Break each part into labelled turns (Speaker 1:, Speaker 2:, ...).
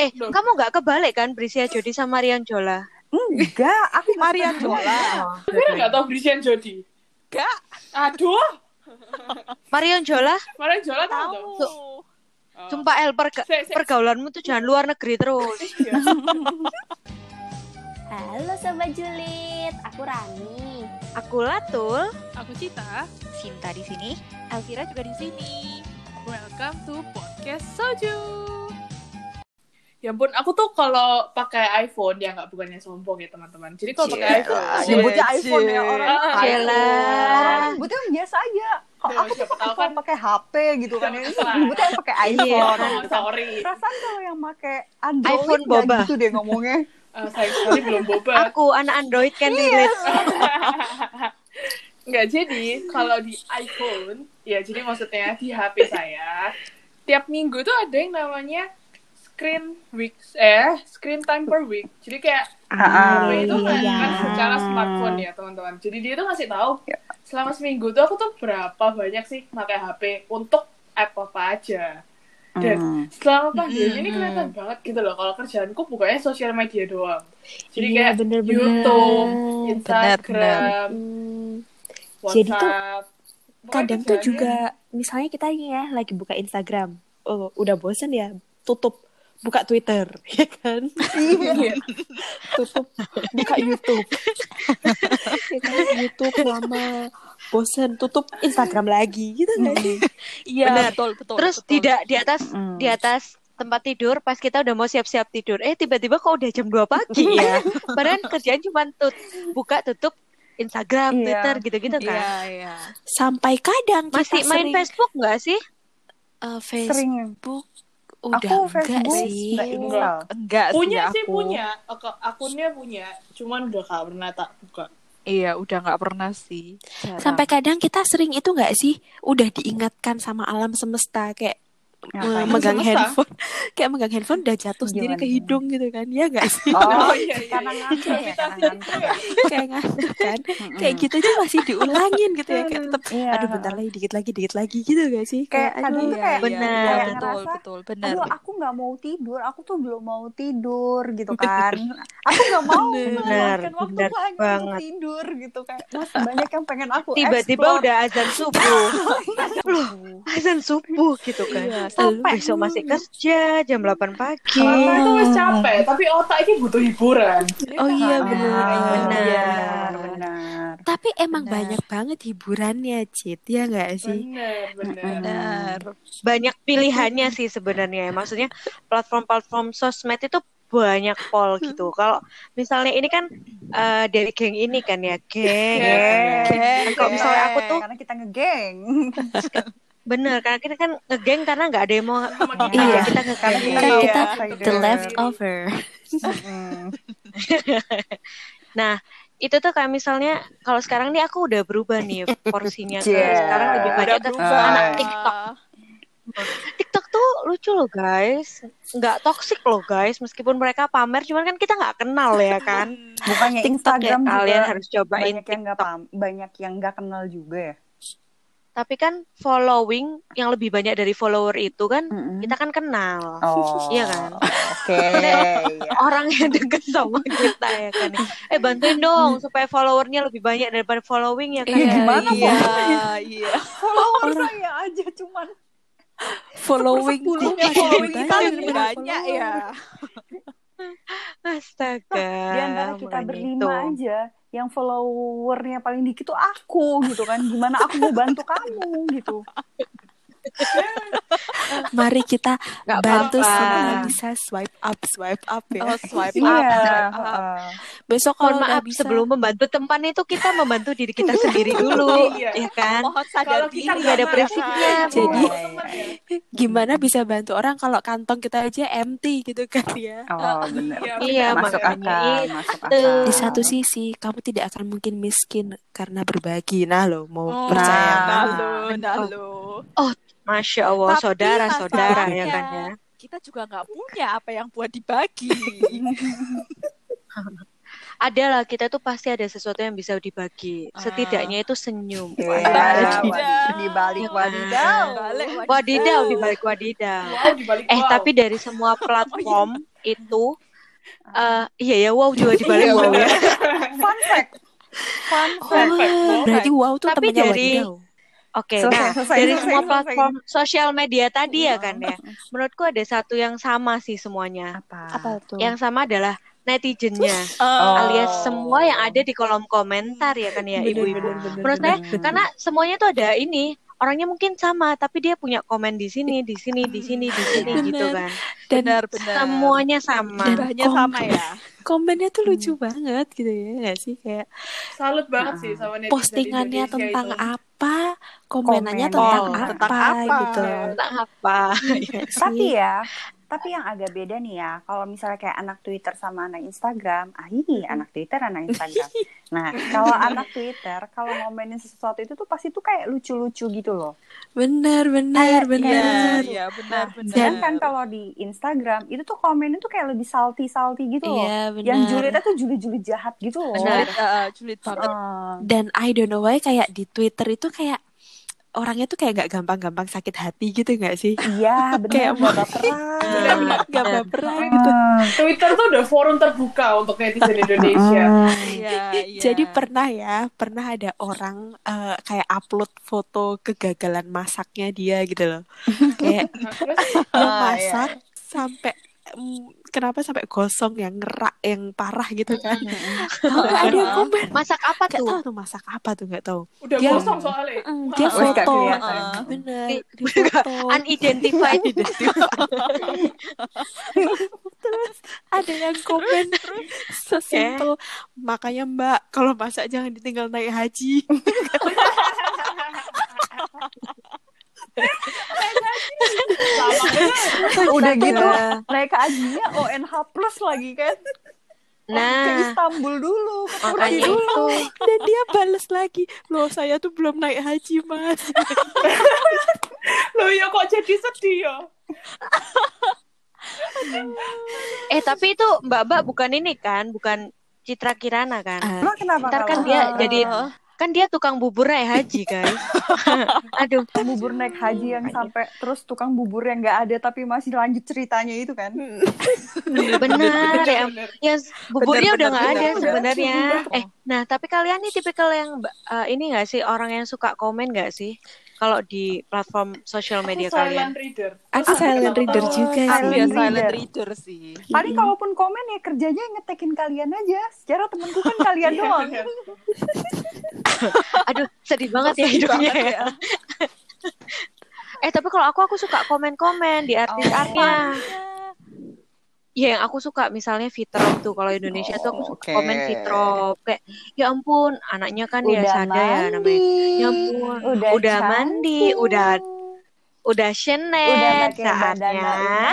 Speaker 1: Eh, kamu nggak kebalik kan Brisia Jodi sama Rian Jola?
Speaker 2: Enggak, aku nggak
Speaker 3: Marian
Speaker 2: pernah.
Speaker 3: Jola.
Speaker 4: Aku nggak tahu Brisian Jody.
Speaker 3: Gak
Speaker 4: Aduh,
Speaker 1: Marion Jola,
Speaker 4: kemarin Jola tahu.
Speaker 3: tahu.
Speaker 4: tuh. Oh.
Speaker 1: sumpah El perga-
Speaker 4: Sik, sik.
Speaker 1: pergaulanmu tuh jangan luar negeri terus.
Speaker 4: Iya.
Speaker 5: Halo Sobat Julid, aku Rani.
Speaker 1: Aku Latul.
Speaker 6: Aku Cita,
Speaker 7: Sinta di sini.
Speaker 6: Elvira juga di sini. Welcome to podcast Soju.
Speaker 4: Ya ampun, aku tuh kalau pakai iPhone ya nggak bukannya sombong ya teman-teman. Jadi kalau pakai
Speaker 3: Cie.
Speaker 4: iPhone, eh,
Speaker 2: Ah,
Speaker 3: Cie.
Speaker 2: Nyebutnya iPhone ya orang.
Speaker 4: Ah,
Speaker 2: iPhone.
Speaker 3: Iya.
Speaker 1: Jela.
Speaker 2: Orang Nyebutnya biasa aja. Kalau
Speaker 4: Tuh,
Speaker 2: aku
Speaker 4: siapa tahu
Speaker 2: tuh
Speaker 4: kan.
Speaker 2: kalau pakai HP gitu kan ya.
Speaker 4: Siapa tahu.
Speaker 2: Nyebutnya yang pakai
Speaker 1: Iya.
Speaker 2: iPhone.
Speaker 4: Oh, sorry,
Speaker 2: Perasaan kalau yang pakai Android
Speaker 1: iPhone
Speaker 2: nggak
Speaker 1: boba.
Speaker 2: gitu deh ngomongnya.
Speaker 4: Eh, sayang sekali belum boba.
Speaker 1: Aku anak Android kan
Speaker 6: Iya.
Speaker 1: relate.
Speaker 4: Nggak, jadi kalau di iPhone, ya jadi maksudnya di HP saya, tiap minggu tuh ada yang namanya screen weeks, eh, screen time per week. Jadi kayak
Speaker 2: Ah,
Speaker 4: HP itu menunjukkan
Speaker 7: iya.
Speaker 4: secara smartphone ya teman-teman. Jadi dia tuh ngasih tahu selama seminggu tuh aku tuh berapa banyak sih pakai HP untuk app apa aja. Dan
Speaker 3: Hmm.
Speaker 4: selama pandemi ini kelihatan banget gitu loh kalau kerjaanku bukannya sosial media doang. Jadi
Speaker 7: Iya,
Speaker 4: kayak
Speaker 7: bener-bener.
Speaker 4: YouTube, Instagram,
Speaker 3: bener.
Speaker 4: WhatsApp.
Speaker 7: Jadi tuh
Speaker 4: Pokoknya
Speaker 3: kadang tuh
Speaker 4: kerjaannya-
Speaker 3: juga misalnya kita nih ya lagi buka Instagram oh udah bosen ya tutup buka Twitter ya kan
Speaker 4: Iya.
Speaker 3: tutup buka YouTube ya kan YouTube lama bosen tutup Instagram lagi gitu nggak sih
Speaker 6: Iya,
Speaker 1: Benar.
Speaker 6: betul, betul.
Speaker 1: Terus
Speaker 6: betul.
Speaker 1: tidak di atas
Speaker 2: Hmm.
Speaker 1: di atas tempat tidur pas kita udah mau siap-siap tidur. Eh tiba-tiba kok udah jam 2 pagi ya. Padahal kerjaan cuma tut buka tutup Instagram,
Speaker 2: Iya.
Speaker 1: Twitter gitu-gitu kan.
Speaker 6: Iya, iya.
Speaker 3: sampai kadang kita
Speaker 1: Masih main
Speaker 3: sering,
Speaker 1: Facebook nggak sih?
Speaker 3: eh,
Speaker 2: sering.
Speaker 3: Facebook
Speaker 2: Aku
Speaker 3: udah enggak
Speaker 2: Facebook
Speaker 3: sih
Speaker 2: nggak install.
Speaker 7: Enggak
Speaker 4: punya
Speaker 7: sih
Speaker 4: sih
Speaker 7: aku.
Speaker 4: punya, Ak- akunnya punya, cuman udah gak pernah tak buka.
Speaker 7: Iya, udah nggak pernah sih. Jarang.
Speaker 3: sampai kadang kita sering itu nggak sih udah diingatkan sama alam semesta kayak
Speaker 4: Iya.
Speaker 3: eh,
Speaker 2: Ngapain?
Speaker 3: megang
Speaker 4: semesta?
Speaker 3: handphone kayak megang handphone udah jatuh sendiri
Speaker 2: Gimana?
Speaker 3: ke hidung gitu kan ya nggak sih
Speaker 2: Oh,
Speaker 4: iya, iya.
Speaker 2: karena ngantuk ya, karena ngantuk.
Speaker 3: kayak ngantuk kan kayak gitu aja masih diulangin gitu ya kayak tetap
Speaker 2: Iya.
Speaker 3: aduh bentar lagi dikit lagi dikit lagi gitu gak sih
Speaker 2: Kayak kadang
Speaker 3: aduh
Speaker 7: ya.
Speaker 2: tuh kayak
Speaker 1: Benar.
Speaker 2: kayak
Speaker 7: Iya, betul, betul,
Speaker 2: ngerasa,
Speaker 7: betul, benar.
Speaker 2: Aduh, aku nggak mau tidur. Aku tuh belum mau tidur gitu kan. Aku nggak mau
Speaker 3: Bener.
Speaker 2: melewatkan waktu
Speaker 1: Bener
Speaker 2: hanya untuk
Speaker 1: banget.
Speaker 2: tidur gitu kayak masih banyak yang pengen aku
Speaker 1: Tiba-tiba
Speaker 2: explore.
Speaker 1: udah azan subuh. Loh, azan subuh gitu
Speaker 3: Iya,
Speaker 1: kan.
Speaker 3: selalu.
Speaker 1: Besok masih kerja jam 8 pagi.
Speaker 4: Otak
Speaker 7: Iya.
Speaker 4: itu wis capek, tapi otak ini butuh hiburan.
Speaker 3: oh iya
Speaker 2: Ah,
Speaker 3: benar
Speaker 1: benar.
Speaker 3: Iya.
Speaker 2: benar.
Speaker 3: tapi emang
Speaker 7: Benar.
Speaker 3: banyak banget hiburannya Cit ya nggak sih
Speaker 4: Bener, bener.
Speaker 7: Iya.
Speaker 3: benar
Speaker 1: banyak pilihannya sih sebenarnya maksudnya platform-platform sosmed itu banyak pol gitu kalau misalnya ini kan eh, dari geng ini kan ya
Speaker 2: Iya,
Speaker 1: geng ya kan ya.
Speaker 2: Geng.
Speaker 1: Kalau misalnya aku tuh-
Speaker 2: karena kita ngegeng.
Speaker 1: bener karena kita kan ngegeng karena nggak ada yang mau
Speaker 4: Sama kita.
Speaker 1: iya kita ngegeng
Speaker 2: Karena
Speaker 3: Kan
Speaker 2: iya,
Speaker 3: kita
Speaker 2: spider.
Speaker 3: the leftover
Speaker 2: Mm-mm.
Speaker 1: itu tuh kayak misalnya kalau sekarang nih aku udah berubah nih porsinya ke
Speaker 2: Yeah.
Speaker 1: sekarang lebih banyak ke
Speaker 2: berubah.
Speaker 1: anak TikTok TikTok tuh lucu loh guys nggak toksik loh guys meskipun mereka pamer cuman kan kita nggak kenal ya kan
Speaker 2: Bukannya
Speaker 1: TikTok ya
Speaker 2: Instagram juga
Speaker 1: kalian harus cobain
Speaker 2: banyak yang nggak paham, banyak yang nggak kenal juga ya.
Speaker 1: tapi kan following yang lebih banyak dari follower itu kan kita kan kenal
Speaker 2: Hmm. Oh,
Speaker 1: Iya kan?
Speaker 2: Oke. iya.
Speaker 1: orang yang deket sama kita ya kan eh bantuin dong supaya followernya lebih banyak daripada following ya kan
Speaker 2: Iya, gimana,
Speaker 7: Iya, iya.
Speaker 2: Follower saya aja cuman
Speaker 3: following Iya,
Speaker 2: Sepersepuluhnya
Speaker 3: TikTok
Speaker 2: following
Speaker 3: lebih
Speaker 2: kita
Speaker 3: banyak
Speaker 2: lebih
Speaker 3: daripada
Speaker 2: banyak
Speaker 3: follower.
Speaker 2: ya.
Speaker 1: astaga
Speaker 2: di antara kita
Speaker 1: makanya
Speaker 2: berlima
Speaker 1: itu.
Speaker 2: aja yang followernya paling dikit tuh aku gitu kan gimana aku mau bantu kamu gitu
Speaker 3: mari kita
Speaker 1: Nggak
Speaker 3: bantu
Speaker 1: apa-apa.
Speaker 3: semua bisa swipe up swipe up ya
Speaker 7: Oh, swipe up.
Speaker 2: iya
Speaker 3: besok
Speaker 1: Mohon
Speaker 3: kalau nggak
Speaker 1: maaf
Speaker 3: bisa
Speaker 1: sebelum membantu teman itu kita membantu diri kita sendiri dulu
Speaker 4: Iya.
Speaker 1: ya kan
Speaker 7: Mohon sadar
Speaker 4: Kalau kita
Speaker 7: diri.
Speaker 1: nggak ada
Speaker 4: nggak kan?
Speaker 1: prinsipnya
Speaker 4: marah,
Speaker 3: Jadi-
Speaker 4: sama temen ya.
Speaker 3: gimana bisa bantu orang kalau kantong kita aja empty gitu kan ya
Speaker 2: oh benar
Speaker 1: Iya, eh,
Speaker 2: masuk
Speaker 1: makanya
Speaker 2: akal
Speaker 1: itu.
Speaker 2: masuk akal
Speaker 3: di satu sisi kamu tidak akan mungkin miskin karena berbagi nah lo mau
Speaker 2: nah.
Speaker 3: percaya
Speaker 7: Nah,
Speaker 3: nggak?
Speaker 7: lo, nah, lo.
Speaker 1: masya allah
Speaker 7: Tapi
Speaker 1: saudara saudara ya
Speaker 7: masalahnya,
Speaker 1: kan ya
Speaker 7: Kita juga nggak punya apa yang buat dibagi. Iya.
Speaker 1: ada lah kita tuh pasti ada sesuatu yang bisa dibagi setidaknya itu senyum
Speaker 2: Iya,
Speaker 7: Wadidaw.
Speaker 2: di balik
Speaker 7: Wadidaw. Balik, wadidaw.
Speaker 1: wadidaw dibalik wadidaw
Speaker 4: ya, Wow, dibalik
Speaker 1: Eh
Speaker 4: wow.
Speaker 1: tapi dari semua platform itu eh iya ya wow juga dibalik wow ya.
Speaker 2: Fun fact. Fun fact.
Speaker 3: Oh, berarti wow tuh
Speaker 1: Tapi
Speaker 3: temennya
Speaker 1: dari-
Speaker 3: Wadidau.
Speaker 1: Oke,
Speaker 2: Selesai,
Speaker 1: nah
Speaker 2: selesai,
Speaker 1: dari
Speaker 2: selesai,
Speaker 1: semua
Speaker 2: selesai.
Speaker 1: platform sosial media tadi ya kan ya. Menurutku ada satu yang sama sih semuanya.
Speaker 2: Apa?
Speaker 3: Apa tuh?
Speaker 1: Yang sama adalah netizennya
Speaker 2: Oh.
Speaker 1: alias semua yang ada di kolom komentar ya kan ya ibu-ibu. Menurut saya karena semuanya tuh ada ini orangnya mungkin sama tapi dia punya komen di sini, di sini, di sini, di sini
Speaker 3: Bener.
Speaker 1: gitu kan.
Speaker 3: dan
Speaker 7: benar benar
Speaker 1: Semuanya sama.
Speaker 3: Dan-
Speaker 7: bahannya sama ya
Speaker 3: komennya tuh lucu
Speaker 2: Hmm.
Speaker 3: banget gitu ya nggak sih kayak
Speaker 4: Salut banget sih sama netizen
Speaker 3: postingannya
Speaker 4: Indonesia
Speaker 3: tentang
Speaker 4: itu.
Speaker 3: apa komenannya
Speaker 2: gitu. Komen.
Speaker 3: tentang,
Speaker 1: Oh,
Speaker 2: tentang
Speaker 3: apa,
Speaker 2: apa. Iya.
Speaker 3: gitu Iya
Speaker 1: Tentang apa?
Speaker 3: Nggak sih?
Speaker 2: Tapi ya, tapi yang agak beda nih ya, kalau misalnya kayak anak Twitter sama anak Instagram, ah iya anak Twitter, anak Instagram. Nah, kalau anak Twitter, kalau ngomenin sesuatu itu tuh pasti tuh kayak lucu-lucu gitu loh.
Speaker 3: benar benar
Speaker 2: Kayak-
Speaker 3: benar
Speaker 7: iya benar kan benar
Speaker 2: Nah, Sedangkan kalau di Instagram, itu tuh komennya tuh kayak lebih salty-salty gitu loh.
Speaker 3: iya benar
Speaker 2: Yang julidnya tuh juli-juli jahat gitu loh. Eh,
Speaker 1: Benar.
Speaker 7: Sulit, eh, sulit banget
Speaker 2: Heeh.
Speaker 3: dan I don't know why kayak di Twitter itu kayak orangnya tuh kayak nggak gampang-gampang sakit hati gitu nggak sih
Speaker 2: Iya, benar.
Speaker 3: Kayak
Speaker 2: Gak baperan.
Speaker 3: nggak nggak baperan gitu
Speaker 2: Heeh.
Speaker 4: Twitter tuh udah forum terbuka untuk netizen Indonesia.
Speaker 2: Ah.
Speaker 7: Iya, iya.
Speaker 3: Jadi pernah ya, pernah ada orang eh, kayak upload foto kegagalan masaknya dia gitu loh. Kayak
Speaker 4: Nah, terus
Speaker 3: dia
Speaker 2: Ah,
Speaker 3: masak sampai mm, kenapa sampai gosong yang ngerak yang parah gitu kan. Lalu ada yang komen,
Speaker 1: Masak apa
Speaker 3: gak
Speaker 1: tuh?
Speaker 3: tahu tuh masak apa tuh gak tahu.
Speaker 4: udah
Speaker 3: Dia-
Speaker 4: kosong soalnya.
Speaker 3: Mm, dia
Speaker 2: Wih, nggak
Speaker 3: foto,
Speaker 2: kelihatan.
Speaker 3: eh, bener,
Speaker 1: Di-
Speaker 3: di foto.
Speaker 1: Unidentified
Speaker 3: Terus ada yang komen sesimpel makanya Mbak kalau masak jangan ditinggal naik haji.
Speaker 4: Sama
Speaker 2: Udah
Speaker 3: Gila.
Speaker 2: gitu, naik hajinya ONH plus lagi kan. Ke
Speaker 1: Nah,
Speaker 2: Istanbul dulu, ke Turki
Speaker 1: makanya
Speaker 2: dulu.
Speaker 3: gitu.
Speaker 1: itu.
Speaker 3: Dan dia bales lagi, loh saya tuh belum naik haji mas.
Speaker 4: lo ya kok jadi sedih ya?
Speaker 1: Eh tapi itu Mbak Mbak bukan ini kan, bukan Citra Kirana
Speaker 3: Ah.
Speaker 1: kan?
Speaker 2: Lo kenapa?
Speaker 1: Ntar kan
Speaker 2: kalau-
Speaker 1: dia jadi kan dia tukang bubur naik haji guys. Aduh,
Speaker 2: bubur naik haji yang sampai terus tukang bubur yang nggak ada tapi masih lanjut ceritanya itu kan
Speaker 1: benar ya.
Speaker 4: Bener.
Speaker 1: Ya buburnya udah
Speaker 2: Bener, bener,
Speaker 1: nggak ada
Speaker 2: bener.
Speaker 1: sebenarnya.
Speaker 2: Udah.
Speaker 1: Eh, nah tapi kalian nih tipikal yang eh, ini nggak sih orang yang suka komen nggak sih? Kalau di platform sosial media kalian?
Speaker 4: Silent reader.
Speaker 3: Aku silent reader juga
Speaker 7: Aku
Speaker 3: sih.
Speaker 7: ya silent
Speaker 2: reader.
Speaker 7: reader sih
Speaker 2: paling kalaupun komen ya kerjanya ngetekin kalian aja secara temenku kan kalian
Speaker 4: Iya,
Speaker 2: doang
Speaker 4: bener.
Speaker 1: Aduh, sedih banget ya hidupnya. ya. Eh tapi kalau aku aku suka komen-komen di artis-artisnya. Ya yang aku suka misalnya Fitrop tuh kalau Indonesia tuh aku suka
Speaker 2: oke.
Speaker 1: komen Fitrop kayak ya ampun anaknya kan ya sada ya namanya. Ya ampun,
Speaker 2: udah,
Speaker 1: udah, mandi,
Speaker 2: cantik.
Speaker 1: udah udah
Speaker 2: udah
Speaker 1: shenet
Speaker 2: pakai bandana
Speaker 1: saatnya.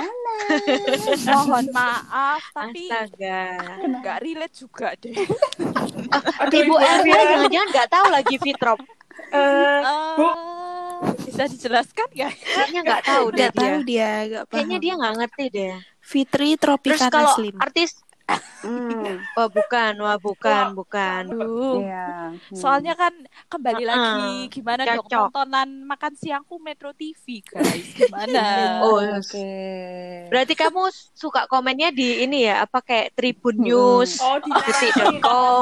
Speaker 7: mohon maaf tapi
Speaker 1: Astaga.
Speaker 7: nggak relate juga deh
Speaker 4: Aduh,
Speaker 1: Ibu RT
Speaker 4: Arya.
Speaker 1: jangan-jangan nggak tahu lagi Fitrop.
Speaker 4: Eh, Bu.
Speaker 7: Eh, bisa dijelaskan nggak
Speaker 1: Kayaknya nggak tahu deh
Speaker 3: Gak
Speaker 1: dia.
Speaker 3: tahu dia, gak paham.
Speaker 1: Kayaknya dia nggak ngerti deh.
Speaker 3: Fitri
Speaker 1: Terus
Speaker 3: Tropika
Speaker 1: kalau
Speaker 3: Muslim.
Speaker 1: artis
Speaker 2: Hmm,
Speaker 1: Wah bukan, wah bukan, bukan.
Speaker 7: Aduh,
Speaker 2: Iya. Hmm.
Speaker 7: Soalnya kan
Speaker 1: Mm-mm.
Speaker 7: kembali lagi gimana dong
Speaker 1: Cocok.
Speaker 7: tontonan makan siangku Metro TV guys gimana?
Speaker 1: Oh,
Speaker 2: oke
Speaker 1: Berarti kamu suka komennya di ini ya, apa kayak Tribun
Speaker 2: Mm-mm.
Speaker 1: News,
Speaker 4: Oh, di narasi,
Speaker 1: Detik.com.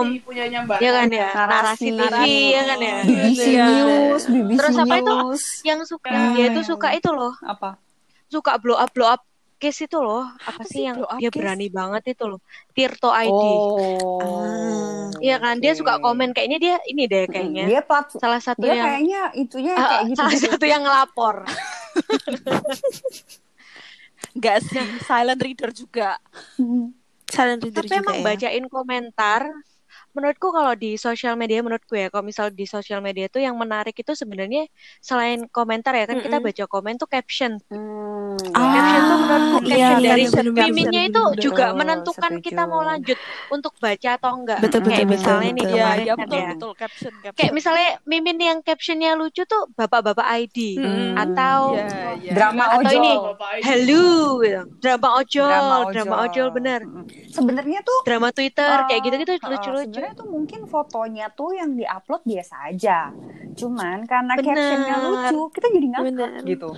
Speaker 4: narasi punyanya Mbak.
Speaker 1: ya kan ya,
Speaker 2: Narasi.
Speaker 1: narasi, TV ya kan ya.
Speaker 2: BBC
Speaker 7: Iya.
Speaker 2: News BBC
Speaker 1: Terus apa itu?
Speaker 2: News
Speaker 1: Yang suka
Speaker 4: Hmm.
Speaker 1: dia itu suka itu loh,
Speaker 2: apa
Speaker 1: suka blow up blow up case itu loh, apa, sih
Speaker 7: sih
Speaker 1: yang
Speaker 7: blow up
Speaker 1: dia
Speaker 7: case?
Speaker 1: berani banget itu loh, Tirto ID.
Speaker 2: oh
Speaker 1: Iya kan, dia
Speaker 2: oke.
Speaker 1: suka komen kayaknya dia ini deh
Speaker 2: Mm,
Speaker 1: kayaknya.
Speaker 2: dia platform
Speaker 1: Salah satu
Speaker 2: dia
Speaker 1: yang
Speaker 2: kayaknya itunya
Speaker 1: Ah,
Speaker 2: kayak gitu
Speaker 1: salah satu yang ngelapor.
Speaker 7: Enggak sih, silent reader juga.
Speaker 2: Hmm.
Speaker 3: Silent reader
Speaker 1: Tapi
Speaker 3: juga
Speaker 1: emang
Speaker 3: ya.
Speaker 1: bacain komentar menurutku kalau di sosial media menurutku ya kalau misal di sosial media tuh yang menarik itu sebenarnya selain komentar ya kan kita baca komen tuh caption
Speaker 2: Hmm,
Speaker 1: caption tuh Ah, menurutku
Speaker 3: iya,
Speaker 1: caption
Speaker 3: iya,
Speaker 1: dari
Speaker 3: iya, bener,
Speaker 1: miminnya
Speaker 3: bener,
Speaker 1: itu
Speaker 3: bener.
Speaker 1: juga
Speaker 2: Oh,
Speaker 1: menentukan
Speaker 2: setuju.
Speaker 1: kita mau lanjut untuk baca atau enggak
Speaker 3: Betul, betul,
Speaker 1: kayak
Speaker 3: betul,
Speaker 1: misalnya nih
Speaker 3: betul.
Speaker 7: Iya,
Speaker 1: kemarin
Speaker 7: iya
Speaker 1: kan
Speaker 7: betul
Speaker 1: ya
Speaker 7: betul caption caption. Iya,
Speaker 1: kayak misalnya mimin yang captionnya lucu tuh bapak-bapak ID
Speaker 7: Mm-mm.
Speaker 2: Hmm.
Speaker 1: atau
Speaker 7: Iya, iya.
Speaker 2: drama
Speaker 1: Atau
Speaker 2: ojol.
Speaker 1: ini,
Speaker 4: Bapak Ibu.
Speaker 1: Hello, gitu. drama ojol, drama ojol, bener,
Speaker 2: Mm. Sebenarnya tuh
Speaker 1: drama Twitter kayak
Speaker 2: eh,
Speaker 1: gitu-gitu
Speaker 2: eh,
Speaker 1: lucu-lucu.
Speaker 2: sebenarnya tuh mungkin fotonya tuh yang diupload biasa aja cuman karena
Speaker 1: Bener.
Speaker 2: captionnya lucu kita jadi ngakak
Speaker 3: Bener.
Speaker 2: gitu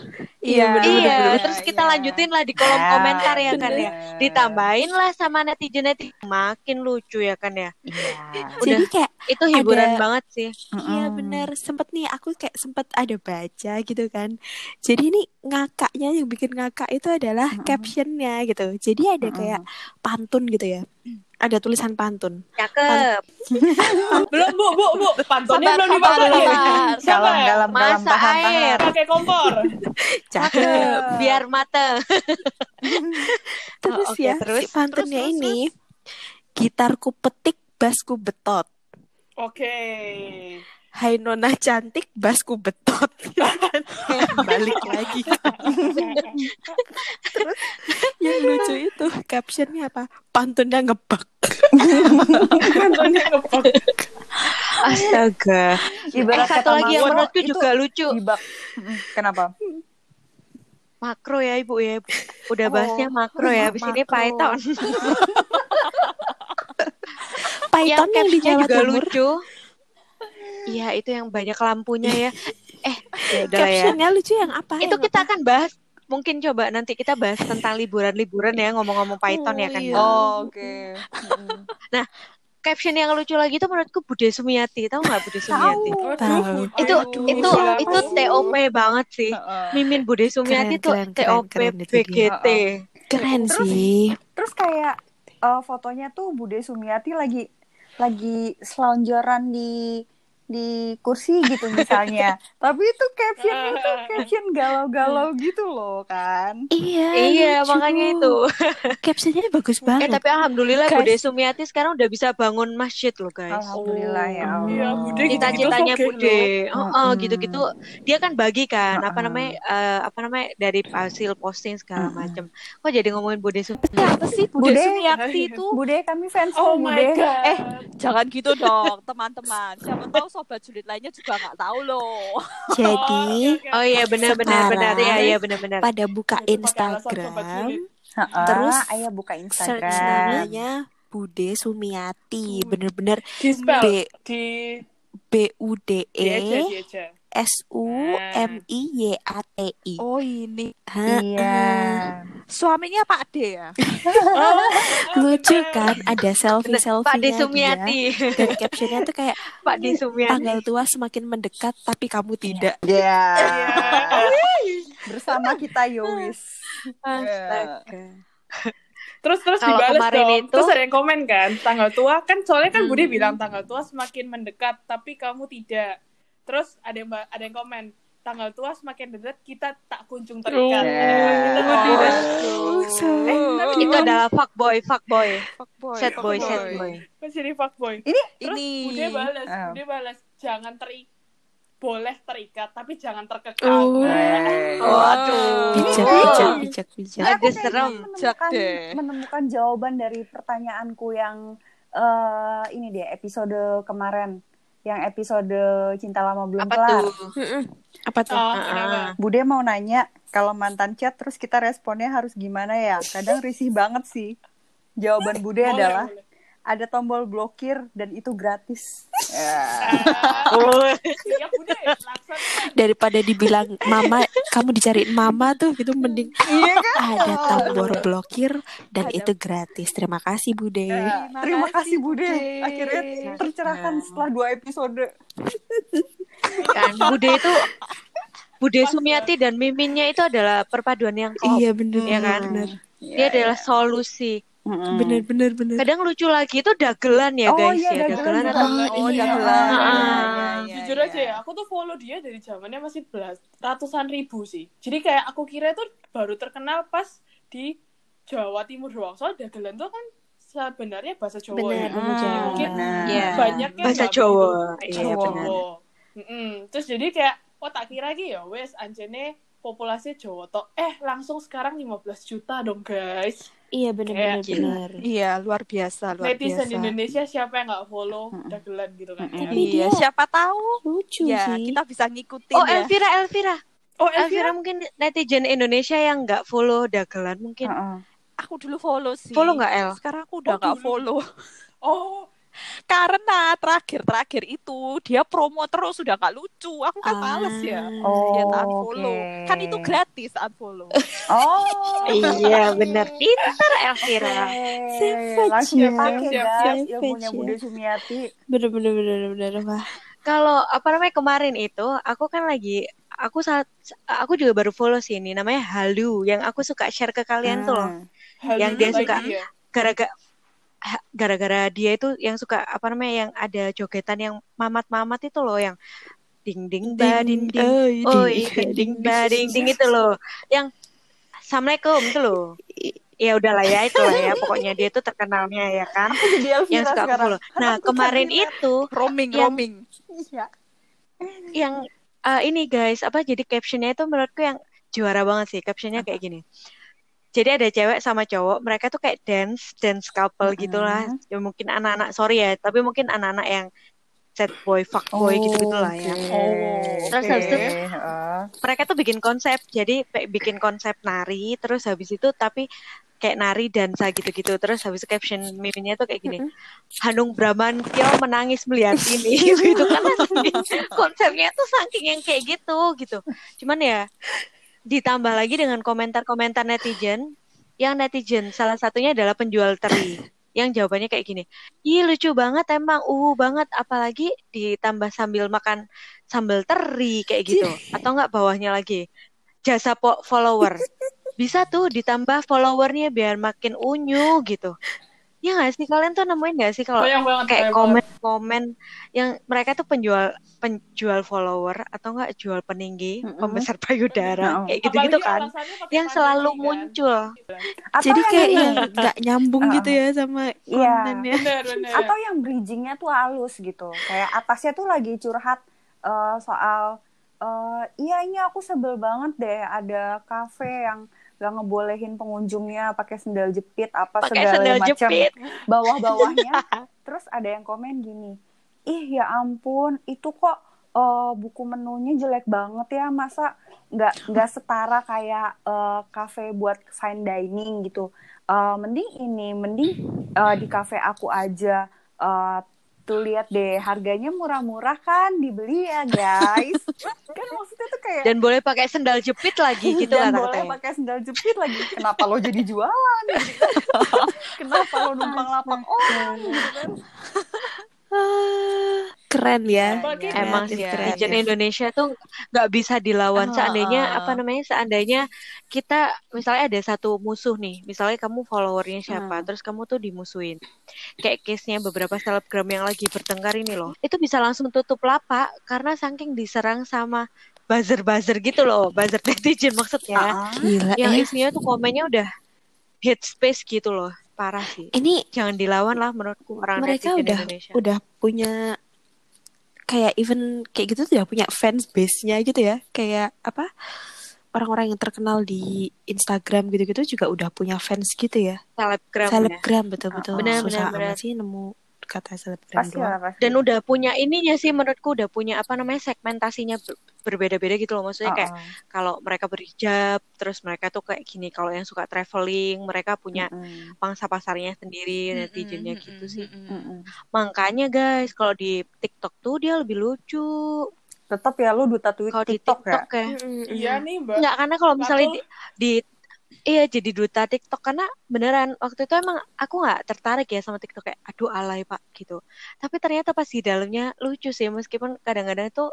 Speaker 3: Iya, bener-bener.
Speaker 1: iya,
Speaker 3: bener-bener.
Speaker 1: terus kita lanjutin lah di kolom
Speaker 2: Ah,
Speaker 1: komentar ya kan ya.
Speaker 2: bener.
Speaker 1: Ditambahin lah sama netizen netizen makin lucu ya kan ya.
Speaker 2: Iya.
Speaker 1: Udah.
Speaker 3: Jadi kayak
Speaker 1: Itu hiburan
Speaker 3: Ada-
Speaker 1: banget sih.
Speaker 3: iya
Speaker 2: Mm-mm.
Speaker 3: bener sempet nih aku kayak sempet ada baca gitu kan. Jadi ini ngakaknya yang bikin ngakak itu adalah
Speaker 2: Mm-mm.
Speaker 3: captionnya gitu. Jadi ada
Speaker 2: Mm-mm.
Speaker 3: kayak pantun gitu ya. Ada tulisan pantun.
Speaker 1: Oh, Cakep.
Speaker 4: belum bu bu bu pantunnya
Speaker 7: Sabar,
Speaker 4: belum
Speaker 7: sabar,
Speaker 4: dipakai
Speaker 7: sabar.
Speaker 2: dalam
Speaker 4: siapa ya
Speaker 2: dalam dalam
Speaker 1: Masa
Speaker 2: tahan
Speaker 1: air.
Speaker 4: pakai kompor
Speaker 1: Cakep. Biar mata.
Speaker 3: Terus
Speaker 1: oke,
Speaker 3: ya,
Speaker 1: terus,
Speaker 3: si pantunnya
Speaker 1: terus, terus,
Speaker 3: ini gitarku petik, basku betot.
Speaker 4: oke
Speaker 3: Hai nona cantik, basku betot. Balik lagi. Terus yang lucu itu captionnya apa? Pantunnya ngebak.
Speaker 4: pantunnya ngepok
Speaker 1: Astaga. Eh,
Speaker 2: Ibarat
Speaker 1: satu
Speaker 2: kata
Speaker 1: lagi yang
Speaker 2: Mas Bro,
Speaker 1: menurutku
Speaker 2: itu
Speaker 1: juga lucu.
Speaker 2: dibak. Mm-mm. kenapa
Speaker 1: Makro ya Ibu ya. Ibu. Udah bahasnya makro ya. Habis ini
Speaker 2: makro.
Speaker 1: Python.
Speaker 3: Python yang di
Speaker 1: captionnya
Speaker 3: Jawa
Speaker 1: juga
Speaker 3: Timur.
Speaker 1: lucu. Iya, itu yang banyak lampunya ya. Eh, ya udah lah ya.
Speaker 3: Captionnya lucu yang apa?
Speaker 1: Itu
Speaker 3: yang
Speaker 1: kita
Speaker 3: apa?
Speaker 1: akan bahas mungkin coba nanti kita bahas tentang liburan-liburan ya ngomong-ngomong Python ya kan.
Speaker 3: iya.
Speaker 1: Oh,
Speaker 2: oh, oke
Speaker 1: caption yang lucu lagi itu menurutku Bude Sumiati. Tahu nggak Bude Sumiati?
Speaker 3: Tahu.
Speaker 1: Itu
Speaker 4: Aduh,
Speaker 1: itu
Speaker 4: siapa
Speaker 1: itu
Speaker 4: sih?
Speaker 1: TOP banget sih.
Speaker 2: Heeh.
Speaker 1: Mimin Bude Sumiati tuh
Speaker 3: Keren, keren,
Speaker 1: TOP
Speaker 3: keren, keren itu
Speaker 1: BGT.
Speaker 3: keren
Speaker 2: Terus-
Speaker 3: sih.
Speaker 2: terus kayak eh, fotonya tuh Bude Sumiati lagi lagi selonjoran di di kursi gitu misalnya tapi itu caption itu caption galau-galau gitu loh kan
Speaker 3: Iya,
Speaker 1: Iya,
Speaker 3: lucu.
Speaker 1: makanya itu.
Speaker 3: Captionnya bagus banget.
Speaker 1: Eh, tapi alhamdulillah
Speaker 3: Guys.
Speaker 1: Bude Sumiati sekarang udah bisa bangun masjid loh, guys.
Speaker 2: alhamdulillah ya Allah.
Speaker 4: Iya, Bude gitu-gitu
Speaker 1: cita-citanya
Speaker 4: soge,
Speaker 1: Bude.
Speaker 2: loh.
Speaker 1: Heeh,
Speaker 2: Mm-mm.
Speaker 1: gitu-gitu. Dia kan bagi kan apa
Speaker 2: Mm-mm.
Speaker 1: namanya eh, apa namanya dari hasil posting segala
Speaker 2: Mm-mm.
Speaker 1: macem Kok jadi ngomongin Bude Sum?
Speaker 7: Apa sih Bude
Speaker 2: Bude.
Speaker 7: Sumiakti itu?
Speaker 2: Bude kami fans
Speaker 4: oh
Speaker 2: loh,
Speaker 4: my
Speaker 2: Bude
Speaker 4: god
Speaker 7: Eh, Jangan gitu dong, teman-teman. Siapa tahu sobat julid lainnya juga nggak tahu loh.
Speaker 3: Jadi
Speaker 1: Oh iya benar-benar benar
Speaker 3: Sekarang-
Speaker 1: ya iya benar-benar.
Speaker 3: pada buka
Speaker 4: Itu pakai alasan sobat
Speaker 3: Instagram,
Speaker 4: julid.
Speaker 2: Heeh,
Speaker 3: Terus
Speaker 2: ayah buka
Speaker 3: search
Speaker 2: Instagram
Speaker 3: namanya Bude Sumiati, bener-bener
Speaker 4: di spell
Speaker 3: B
Speaker 4: di
Speaker 3: B U D
Speaker 4: dia aja
Speaker 3: E
Speaker 4: dia aja
Speaker 3: S U M I Y A T I.
Speaker 7: Oh ini.
Speaker 3: Hah,
Speaker 2: iya
Speaker 7: Suaminya Pak D ya?
Speaker 3: lucu kan? Ada selfie selfie
Speaker 1: Pak De Sumiati,
Speaker 3: Dan captionnya tuh kayak
Speaker 1: Pak De Sumiati.
Speaker 3: tanggal tua semakin mendekat tapi kamu tidak.
Speaker 2: Iya.
Speaker 4: Iya.
Speaker 2: bersama kita Yowis
Speaker 4: Terus terus
Speaker 1: Kalau
Speaker 4: dibales
Speaker 1: kemarin
Speaker 4: dong.
Speaker 1: itu-
Speaker 4: Terus ada yang komen kan, tanggal tua kan soalnya kan Bude bilang tanggal tua semakin mendekat, tapi kamu tidak. Terus ada yang ba- ada yang komen, tanggal tua semakin dekat kita tak kunjung
Speaker 2: Iya.
Speaker 4: terikat. Ada yang bilang gitu,
Speaker 2: Waduh.
Speaker 4: kan?
Speaker 3: So-
Speaker 1: Itu adalah fuckboy, fuckboy,
Speaker 7: Fuckboy,
Speaker 1: sad boy, sad
Speaker 7: fuckboy.
Speaker 1: boy.
Speaker 4: Terus jadi fuckboy. Terus
Speaker 7: Ini.
Speaker 4: Bude balas,
Speaker 2: Ah.
Speaker 4: Bude balas jangan teri boleh terikat tapi jangan terkekang.
Speaker 3: Oh.
Speaker 2: Iya.
Speaker 1: Waduh.
Speaker 3: Bijak, bijak, bijak, bijak.
Speaker 1: Ada
Speaker 2: Aku kayaknya
Speaker 1: serem.
Speaker 2: menemukan,
Speaker 7: deh.
Speaker 2: menemukan jawaban dari pertanyaanku yang eh ini deh episode kemarin yang episode cinta lama belum
Speaker 1: Apa
Speaker 2: kelar
Speaker 1: tuh?
Speaker 3: Apa tuh?
Speaker 4: Oh, kenapa?
Speaker 1: Heeh.
Speaker 2: Bude mau nanya kalau mantan chat terus kita responnya harus gimana ya kadang risih banget sih jawaban Bude
Speaker 4: Boleh,
Speaker 2: adalah
Speaker 4: boleh.
Speaker 2: ada tombol blokir dan itu gratis Ya.
Speaker 1: Oh.
Speaker 4: Ah. Iya, Bude, laksanakan.
Speaker 3: Daripada dibilang mama, kamu dicariin mama tuh gitu mending
Speaker 2: iya kan
Speaker 3: ada tombol blokir dan itu gratis. Terima kasih Bude.
Speaker 2: Terima, kasih Bude. Akhirnya tercerahkan setelah dua episode.
Speaker 1: Kan Bude itu Bude Sumiati dan miminnya itu adalah perpaduan yang klop.
Speaker 3: Iya bener,
Speaker 1: Iya kan?
Speaker 3: bener,
Speaker 1: Dia adalah solusi.
Speaker 2: Hmm.
Speaker 3: bener, bener, bener.
Speaker 1: Kadang lucu lagi itu dagelan ya
Speaker 2: oh
Speaker 1: guys ya,
Speaker 2: iya,
Speaker 1: dagelan atau
Speaker 2: dagelan. Oh,
Speaker 7: iya.
Speaker 2: dagelan.
Speaker 1: Ah.
Speaker 2: Iya, iya,
Speaker 4: jujur
Speaker 2: iya.
Speaker 4: aja ya, aku tuh follow dia dari zamannya masih belas, ratusan ribu sih. Jadi kayak aku kira itu baru terkenal pas di Jawa Timur doang. Soalnya dagelan tuh kan sebenarnya bahasa Jawa
Speaker 3: Benar,
Speaker 4: ya.
Speaker 3: bahasa Jawa.
Speaker 4: Mungkin
Speaker 2: Nah.
Speaker 1: Iya.
Speaker 4: banyaknya
Speaker 1: bahasa
Speaker 4: nggak
Speaker 1: Jawa.
Speaker 4: begitu.
Speaker 1: Iya
Speaker 2: Jawa.
Speaker 1: benar.
Speaker 4: Mm-mm. Terus jadi kayak, oh tak kira lagi ya wes anjene populasi Jawa tok. Eh langsung sekarang 15 juta dong guys.
Speaker 3: Iya bener, bener,
Speaker 1: Kayak-
Speaker 3: bener.
Speaker 7: Iya, luar biasa, luar
Speaker 4: Netizen
Speaker 7: biasa.
Speaker 4: Indonesia siapa yang nggak follow dagelan gitu kan. ya.
Speaker 3: Tapi
Speaker 7: Iya,
Speaker 3: dia
Speaker 7: siapa tahu
Speaker 3: lucu
Speaker 7: ya
Speaker 3: sih.
Speaker 7: kita bisa ngikutin
Speaker 1: Oh
Speaker 7: ya.
Speaker 1: Elvira, Elvira,
Speaker 4: Oh
Speaker 1: Elvira
Speaker 4: Elvira,
Speaker 1: mungkin netizen Indonesia yang nggak follow dagelan mungkin
Speaker 2: Heeh.
Speaker 7: Aku dulu follow sih.
Speaker 1: follow nggak El?
Speaker 7: Sekarang aku udah
Speaker 4: Oh,
Speaker 7: nggak
Speaker 4: dulu.
Speaker 7: follow.
Speaker 4: oh
Speaker 7: karena terakhir-terakhir itu dia promo terus sudah nggak lucu aku kan males ya
Speaker 2: Oh,
Speaker 7: dia unfollow
Speaker 2: oke.
Speaker 7: kan itu gratis unfollow
Speaker 2: Oh,
Speaker 1: iya benar pinter Elvira
Speaker 2: oke.
Speaker 3: Siap
Speaker 2: Langsung
Speaker 3: aja.
Speaker 2: dipakai guys
Speaker 4: Siap,
Speaker 2: Ya
Speaker 3: siap
Speaker 2: ilmunya
Speaker 3: aja.
Speaker 2: Bunda Sumiati.
Speaker 3: bener bener bener bener wah
Speaker 1: kalau apa namanya kemarin itu aku kan lagi aku saat aku juga baru follow sih ini namanya Halu yang aku suka share ke kalian tuh
Speaker 2: Ah. Hmm.
Speaker 1: loh Yang dia suka.
Speaker 4: ya?
Speaker 1: gara-gara ha- gara-gara dia itu yang suka apa namanya yang ada jogetan yang mamat-mamat itu loh yang ding ding ba ding ding oh iya ding ba ding ding itu loh yang assalamualaikum itu loh ya udahlah ya itu lah ya pokoknya dia itu terkenalnya ya kan
Speaker 2: Jadi
Speaker 1: yang
Speaker 2: Elvira
Speaker 1: suka aku
Speaker 2: Iya, sekarang.
Speaker 1: follow nah kemarin itu
Speaker 7: roaming
Speaker 1: Yang-
Speaker 7: roaming
Speaker 1: yang eh, ini guys apa jadi captionnya itu menurutku yang juara banget sih captionnya kayak gini jadi ada cewek sama cowok mereka tuh kayak dance dance couple gitulah ya mungkin anak-anak sorry ya tapi mungkin anak-anak yang set boy fuck boy
Speaker 2: Oh,
Speaker 1: gitu gitulah ya Terus habis itu-
Speaker 2: Heeh.
Speaker 1: mereka tuh bikin konsep jadi kayak bikin konsep nari terus habis itu tapi kayak nari dansa gitu-gitu terus habis itu caption meme-nya tuh kayak gini Hanung Bramantyo menangis melihat ini gitu kan konsepnya tuh saking yang kayak gitu gitu cuman ya ditambah lagi dengan komentar-komentar netizen yang netizen salah satunya adalah penjual teri yang jawabannya kayak gini Ih lucu banget emang uhu banget apalagi ditambah sambil makan sambal teri kayak gitu atau enggak bawahnya lagi jasa po- follower bisa tuh ditambah followernya biar makin unyu gitu ya nggak sih kalian tuh nemuin nggak sih kalau
Speaker 4: banyak banget
Speaker 1: kayak
Speaker 4: banyak banget.
Speaker 1: komen-komen yang mereka tuh penjual penjual follower atau enggak jual peninggi
Speaker 2: Mm-mm.
Speaker 1: pembesar payudara
Speaker 2: Mm-mm.
Speaker 1: kayak gitu-gitu
Speaker 4: Apalagi
Speaker 1: kan
Speaker 4: alasannya pakai
Speaker 1: yang selalu
Speaker 4: pandemi, kan.
Speaker 1: muncul
Speaker 2: Atau
Speaker 3: jadi
Speaker 2: yang
Speaker 3: kayak
Speaker 2: ini.
Speaker 3: yang nggak nyambung
Speaker 2: Ah.
Speaker 3: gitu ya sama
Speaker 2: Iya.
Speaker 3: kontennya
Speaker 4: bener bener
Speaker 2: atau yang bridgingnya tuh halus gitu kayak atasnya tuh lagi curhat eh, soal eh, iya ini aku sebel banget deh ada kafe yang gak ngebolehin pengunjungnya pakai sendal jepit apa
Speaker 1: pakai
Speaker 2: segala
Speaker 1: sendal
Speaker 2: macam
Speaker 1: jepit
Speaker 2: bawah-bawahnya terus ada yang komen gini ih ya ampun itu kok eh, buku menunya jelek banget ya masa nggak nggak setara kayak eh, cafe buat fine dining gitu Eh, mending ini mending eh, di cafe aku aja Eh, tuh lihat deh harganya murah-murah kan dibeli ya guys kan maksudnya tuh kayak
Speaker 1: dan boleh pakai sendal jepit lagi gitu
Speaker 2: dan
Speaker 1: kan
Speaker 2: boleh
Speaker 1: katanya
Speaker 2: pakai sendal jepit lagi kenapa lo jadi jualan kenapa lo numpang lapang orang gitu kan
Speaker 3: Ah, keren ya
Speaker 4: Apalagi
Speaker 2: gitu.
Speaker 1: Emang
Speaker 3: Kreatif,
Speaker 1: sih
Speaker 3: kreatif.
Speaker 1: netizen Iya, Indonesia tuh nggak bisa dilawan.
Speaker 7: Ah,
Speaker 1: Seandainya
Speaker 7: ah, ah.
Speaker 1: apa namanya? Seandainya kita misalnya ada satu musuh nih, misalnya kamu followernya siapa, terus kamu tuh dimusuhin. Kayak case-nya beberapa selebgram yang lagi bertengkar ini loh, itu bisa langsung tutup lapak karena saking diserang sama buzzer-buzzer gitu loh, buzzer netizen
Speaker 2: Ah,
Speaker 1: maksudnya.
Speaker 3: gila
Speaker 1: yang
Speaker 3: eh.
Speaker 1: isinya tuh komennya udah hate space gitu loh, parah sih.
Speaker 3: ini
Speaker 1: Jangan dilawan lah menurutku orang
Speaker 3: mereka
Speaker 1: netizen
Speaker 3: udah
Speaker 1: Indonesia.
Speaker 3: udah punya kayak even kayak gitu tuh udah punya fans base-nya gitu ya kayak apa orang-orang yang terkenal di Instagram gitu-gitu juga udah punya fans gitu ya
Speaker 1: Selebgram. ya.
Speaker 3: selebgram
Speaker 1: Oh,
Speaker 3: betul-betul
Speaker 1: benar,
Speaker 3: susah
Speaker 1: benar, benar.
Speaker 3: amat sih nemu kata selebgram
Speaker 2: pasti
Speaker 3: doang
Speaker 2: lah pasti
Speaker 1: dan udah punya ininya sih menurutku udah punya apa namanya segmentasinya ber- berbeda-beda gitu loh maksudnya kayak
Speaker 2: Oh,
Speaker 1: kalau mereka berhijab terus mereka tuh kayak gini kalau yang suka traveling mereka punya
Speaker 2: mm,
Speaker 1: pangsa pasarnya sendiri
Speaker 2: Hmm,
Speaker 7: Mm-mm,
Speaker 1: netizennya
Speaker 7: mm-mm,
Speaker 1: gitu sih
Speaker 7: mm-mm.
Speaker 2: mm, mm.
Speaker 1: makanya guys kalau di TikTok tuh dia lebih lucu
Speaker 2: tetap ya lu duta tweet
Speaker 1: kalau di
Speaker 2: TikTok ya
Speaker 1: TikTok ya
Speaker 4: iya nih mbak
Speaker 1: Enggak, karena kalau misalnya
Speaker 4: Lalu-
Speaker 1: di, di- iya jadi duta TikTok karena beneran waktu itu emang aku nggak tertarik ya sama TikTok kayak aduh alay pak gitu. Tapi ternyata pas di dalamnya lucu sih meskipun kadang-kadang itu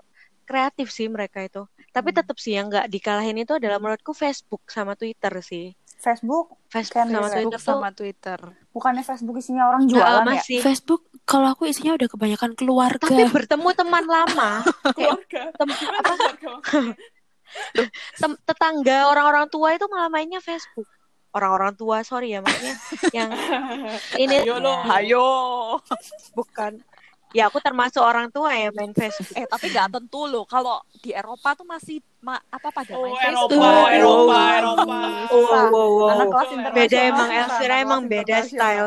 Speaker 1: kreatif sih mereka itu. Tapi tetap sih yang nggak dikalahin itu adalah menurutku Facebook sama Twitter sih.
Speaker 2: Facebook
Speaker 1: Facebook
Speaker 2: Kan
Speaker 1: sama
Speaker 2: bisa.
Speaker 1: Twitter Nah,
Speaker 7: Facebook
Speaker 1: tuh
Speaker 7: sama Twitter
Speaker 2: bukannya Facebook isinya orang
Speaker 1: nggak
Speaker 2: jualan ya
Speaker 1: masih.
Speaker 3: Facebook kalau aku isinya udah kebanyakan keluarga
Speaker 1: Tapi bertemu teman lama,
Speaker 4: keluarga
Speaker 1: tem-
Speaker 4: Gimana keluarga
Speaker 1: tem- tetangga orang-orang tua itu malah mainnya Facebook. Orang-orang tua, sorry ya maksudnya yang ini
Speaker 4: Ayo lo.
Speaker 7: ayo
Speaker 1: bukan ya aku termasuk orang tua ya main Facebook
Speaker 7: eh tapi nggak tentu loh kalau di Eropa tuh masih ma- apa pada
Speaker 4: oh
Speaker 7: main Facebook
Speaker 4: Eropa Eropa Eropa
Speaker 2: Anak kelas
Speaker 4: Betul,
Speaker 2: internasional
Speaker 1: beda emang
Speaker 2: susah,
Speaker 1: Elvira emang
Speaker 2: anak kelas
Speaker 1: beda
Speaker 2: internasional.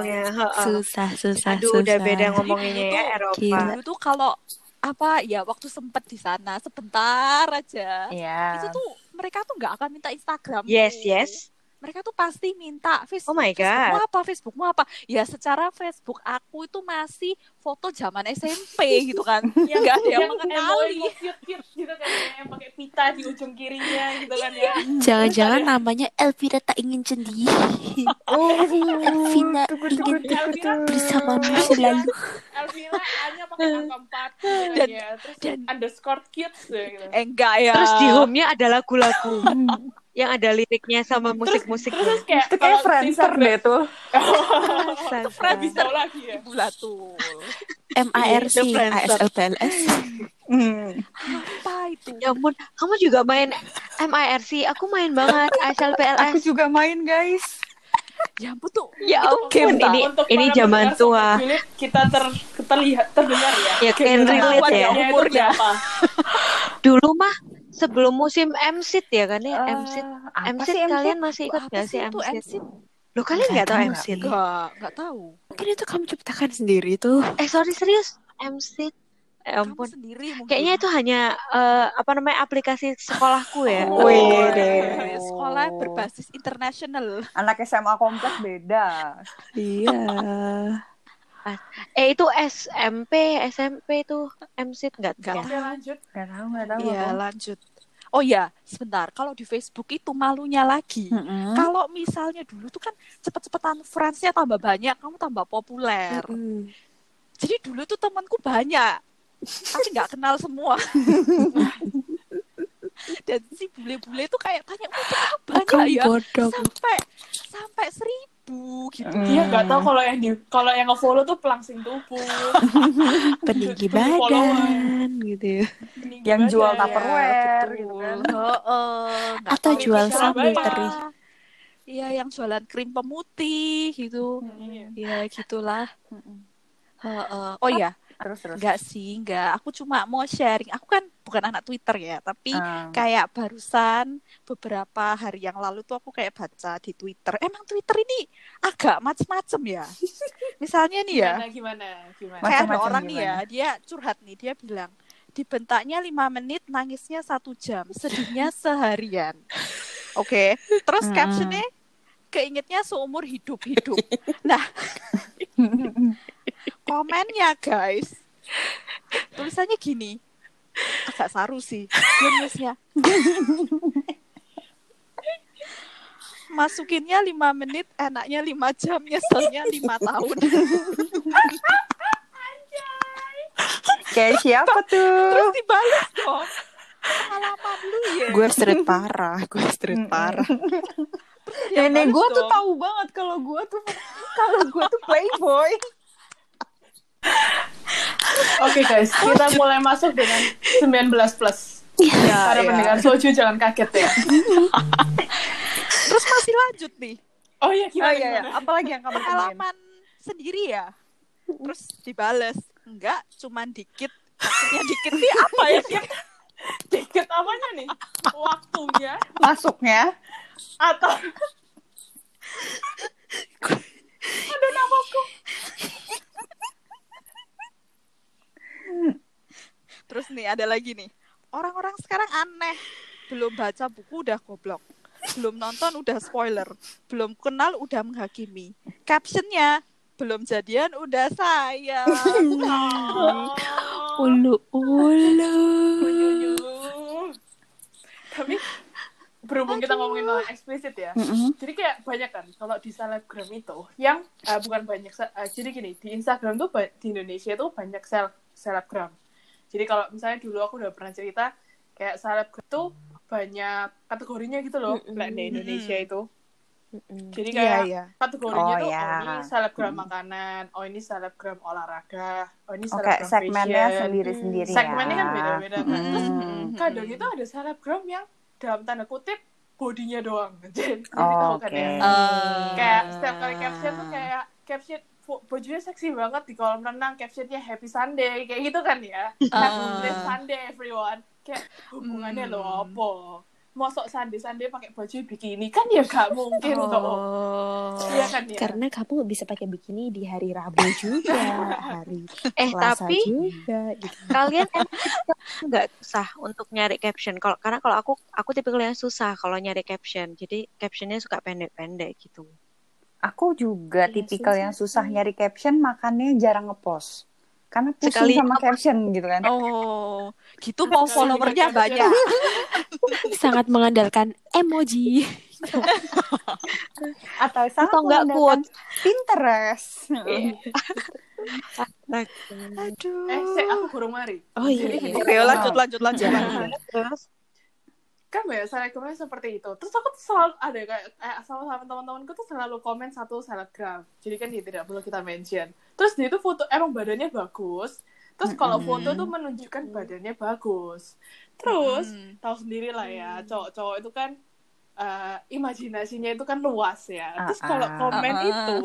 Speaker 1: stylenya heeh.
Speaker 3: susah susah
Speaker 1: aduh
Speaker 3: susah
Speaker 1: udah beda ngomonginnya ya Eropa
Speaker 3: Gila.
Speaker 7: dulu tuh kalau apa ya waktu sempet di sana sebentar aja
Speaker 2: Iya.
Speaker 7: itu tuh mereka tuh nggak akan minta Instagram
Speaker 1: yes yes
Speaker 7: mereka tuh pasti minta
Speaker 1: Oh
Speaker 7: Facebook
Speaker 1: my
Speaker 7: Facebookmu
Speaker 1: God.
Speaker 7: apa Facebookmu apa ya secara Facebook aku itu masih foto zaman SMP gitu kan yang nggak ada yang mengenali
Speaker 4: cute cute gitu kan ya, yang pakai pita di ujung kirinya gitu kan ya
Speaker 3: Jangan-jangan namanya Elvira tak ingin sendiri. Elvira ingin
Speaker 4: Elvira
Speaker 3: bersamamu
Speaker 4: Elvira.
Speaker 3: selalu.
Speaker 4: Elvira hanya pakai angka empat gitu kan
Speaker 7: Dan-
Speaker 4: ya terus
Speaker 7: dan-
Speaker 4: underscore kids gitu
Speaker 7: eh, enggak ya
Speaker 1: Terus di home-nya ada lagu-lagu yang ada liriknya sama musik-musiknya.
Speaker 4: terus kayak
Speaker 2: Itu kayak friendster
Speaker 4: friendster
Speaker 2: deh tuh.
Speaker 1: Astaga.
Speaker 4: Habis tahu lagi ya.
Speaker 7: ibu lah tuh
Speaker 3: MARC,
Speaker 1: Itu friends.
Speaker 3: ASLPLS.
Speaker 2: Hmm.
Speaker 7: apa itu
Speaker 1: Ya ampun, kamu juga main MIRC. Aku main banget
Speaker 2: Aku
Speaker 1: ASLPLS.
Speaker 2: juga main guys.
Speaker 7: ya ampun tuh
Speaker 1: Ya ampun,
Speaker 7: Untuk-
Speaker 1: ini
Speaker 4: Untuk
Speaker 1: ini
Speaker 4: para
Speaker 1: zaman
Speaker 4: pendengar
Speaker 1: tua.
Speaker 4: Sobat Julid, kita ter terlihat terdengar ya
Speaker 1: Ya can relate ya.
Speaker 4: Ketahuan umur berapa
Speaker 1: Dulu mah sebelum musim MSIT ya kan ya,
Speaker 2: Eh,
Speaker 1: MSIT.
Speaker 2: apa
Speaker 1: MSIT
Speaker 2: sih MC?
Speaker 1: kalian masih ikut
Speaker 7: Apa
Speaker 1: gak
Speaker 7: sih
Speaker 1: sih
Speaker 7: itu
Speaker 1: MSIT?
Speaker 7: MC?
Speaker 1: Lo kalian
Speaker 3: Nggak
Speaker 1: gak tau
Speaker 3: tahu, nggak
Speaker 1: MSIT?
Speaker 7: Enggak, enggak tahu.
Speaker 1: Ya
Speaker 3: Mungkin itu kamu ciptakan sendiri tuh.
Speaker 1: Eh sorry serius, MSIT. Ya
Speaker 7: Kamu
Speaker 1: ampun.
Speaker 7: sendiri mungkin.
Speaker 1: Kayaknya itu hanya eh, apa namanya aplikasi sekolahku ya.
Speaker 2: Oh. Wih, deh.
Speaker 7: Sekolah berbasis internasional.
Speaker 2: Anak SMA kompleks beda.
Speaker 3: Iya.
Speaker 1: Eh itu SMP, SMP tuh MSIT nggak
Speaker 7: Nggak
Speaker 1: tahu.
Speaker 4: Oke lanjut
Speaker 2: Gak tahu, gak tahu.
Speaker 7: Iya, lanjut. Oh ya, sebentar. Kalau di Facebook itu malunya lagi.
Speaker 2: Hmm.
Speaker 7: Kalau misalnya dulu tuh kan cepet-cepetan friends-nya tambah banyak, kamu tambah populer.
Speaker 3: Mm-mm.
Speaker 7: Jadi dulu tuh temanku banyak, tapi nggak kenal semua. Dan si bule-bule tuh kayak tanya, "Wah, kita tuh
Speaker 3: Oh,
Speaker 7: banyak
Speaker 3: kamu
Speaker 7: ya?"
Speaker 3: bodoh.
Speaker 7: Sampai sampai seribu gitu.
Speaker 4: Iya nggak tahu kalau yang di kalau yang ngefollow tuh pelangsing tubuh
Speaker 3: Peninggi
Speaker 4: Tujuh follower.
Speaker 3: badan gitu.
Speaker 4: Meninggi
Speaker 2: Yang jual
Speaker 4: badan.
Speaker 2: tupper. Tupperware gitu kan.
Speaker 7: Iya, Heeh, nggak
Speaker 3: Atau
Speaker 7: tahu
Speaker 3: jual
Speaker 7: itu
Speaker 4: sambal
Speaker 7: siapa.
Speaker 3: teri.
Speaker 7: Iya, yang jualan krim pemutih gitu.
Speaker 4: Iya.
Speaker 7: Ya gitulah.
Speaker 2: Mm-mm.
Speaker 7: Heeh. Oh ya,
Speaker 2: Terus terus.
Speaker 7: enggak sih, enggak. Aku cuma mau sharing. Aku kan bukan anak Twitter ya, tapi
Speaker 2: Ah.
Speaker 7: kayak barusan beberapa hari yang lalu tuh aku kayak baca di Twitter. Emang Twitter ini agak macem-macem ya. Misalnya nih ya,
Speaker 4: Gimana, gimana gimana
Speaker 2: Mas-
Speaker 7: kayak ada
Speaker 2: Macam-macam
Speaker 7: orang nih ya, dia curhat nih, dia bilang dibentaknya lima menit, nangisnya satu jam, sedihnya seharian. Oke, terus
Speaker 2: Mm-mm.
Speaker 7: captionnya keingetnya seumur hidup-hidup. Nah, komennya guys, tulisannya gini, agak saru sih, dia nulisnya. Masukinnya lima menit, enaknya lima jam, nyeselnya lima tahun.
Speaker 2: Kayak siapa
Speaker 7: Terus
Speaker 2: tuh?
Speaker 7: dibalas dong. Pengalaman lu ya.
Speaker 3: Gue street parah. Gue street parah.
Speaker 2: Nenek
Speaker 7: bagus
Speaker 2: gue tuh
Speaker 7: dong.
Speaker 2: tahu banget kalau gue tuh kalau gue tuh playboy.
Speaker 4: Oke guys, kita mulai masuk dengan 19 plus.
Speaker 2: Iya, Ah,
Speaker 4: Para pendengar soju jangan kaget ya.
Speaker 7: Terus masih lanjut nih.
Speaker 4: Oh iya
Speaker 2: Oh
Speaker 4: gimana?
Speaker 2: iya, iya.
Speaker 4: gimana?
Speaker 2: apalagi yang kamu temuin?
Speaker 7: Pengalaman sendiri ya. Terus dibales. Enggak, cuman dikit. Maksudnya dikit sih apa ya?
Speaker 4: Tiket apanya nih? Waktunya
Speaker 2: Masuknya
Speaker 4: atau
Speaker 7: Terus nih ada lagi nih. Orang-orang sekarang aneh. Belum baca buku udah goblok. Belum nonton udah spoiler. Belum kenal udah menghakimi. Captionnya belum jadian udah sayang.
Speaker 4: Oh,
Speaker 3: Ulu ulu.
Speaker 4: menyusul. Tapi berhubung kita ngomongin hal eksplisit ya.
Speaker 2: Iya.
Speaker 4: Jadi kayak banyak kan kalau di selebgram itu yang eh, bukan banyak se- eh, jadi gini di Instagram tuh ba- di Indonesia tuh banyak sel selebgram. Jadi kalau misalnya dulu aku udah pernah cerita kayak selebgram tuh banyak kategorinya gitu loh like di Indonesia itu. Jadi kayak
Speaker 7: iya.
Speaker 4: kategorinya
Speaker 2: Oh,
Speaker 4: tuh
Speaker 2: ya.
Speaker 4: oh ini selebgram makanan, oh ini selebgram olahraga, oh ini
Speaker 2: Oke,
Speaker 4: selebgram
Speaker 2: segmennya
Speaker 4: fashion.
Speaker 2: sendiri-sendiri ya.
Speaker 4: Segmennya kan beda-beda kan. Terus
Speaker 2: Mm.
Speaker 4: kadang itu ada selebgram yang dalam tanda kutip bodinya doang. Jadi tahu
Speaker 2: Oh, Oke.
Speaker 4: kan ya. Kayak
Speaker 7: Ah.
Speaker 4: setiap kali caption tuh kayak caption bo- bajunya seksi banget di kolam renang captionnya happy Sunday kayak gitu kan ya. Happy Sunday everyone. Kayak hubungannya
Speaker 7: Hmm.
Speaker 4: lo apa? mosok sande-sande pakai baju bikini kan ya gak mungkin toh.
Speaker 3: Oh.
Speaker 4: Iya kan ya.
Speaker 3: Karena kamu nggak bisa pakai bikini di hari Rabu juga, hari
Speaker 1: Eh
Speaker 3: Selasa
Speaker 1: tapi
Speaker 3: juga, gitu.
Speaker 1: kalian emang nggak susah untuk nyari caption kalau karena kalau aku aku tipikal yang susah kalau nyari caption jadi captionnya suka pendek-pendek gitu
Speaker 2: Aku juga tipikal yang susah nyari caption, makannya jarang ngepost. Karena pusing
Speaker 1: Sekali
Speaker 2: sama
Speaker 1: ngepost.
Speaker 2: caption gitu kan.
Speaker 7: Oh, gitu mau followernya banyak.
Speaker 3: sangat mengandalkan emoji.
Speaker 2: Atau sangat
Speaker 1: Atau nggak
Speaker 2: mengandalkan Pinterest.
Speaker 3: Aduh.
Speaker 4: Eh, sik, aku kurang mari.
Speaker 3: Oh iya.
Speaker 4: Jadi
Speaker 3: iya.
Speaker 4: gini,
Speaker 7: Oke, lanjut lanjut lanjut.
Speaker 1: terus
Speaker 4: kan banyak selebgramnya seperti itu terus aku tuh selalu ada kayak eh, sama sama teman-temanku tuh selalu komen satu selebgram jadi kan dia tidak perlu kita mention terus dia tuh foto emang badannya bagus terus kalau foto tuh menunjukkan badannya bagus terus
Speaker 7: Mm.
Speaker 4: tahu sendiri lah ya cowok-cowok itu kan eh, imajinasinya itu kan luas ya terus
Speaker 2: Ah,
Speaker 4: kalau
Speaker 2: ah.
Speaker 4: komen
Speaker 7: Ah, ah.
Speaker 4: itu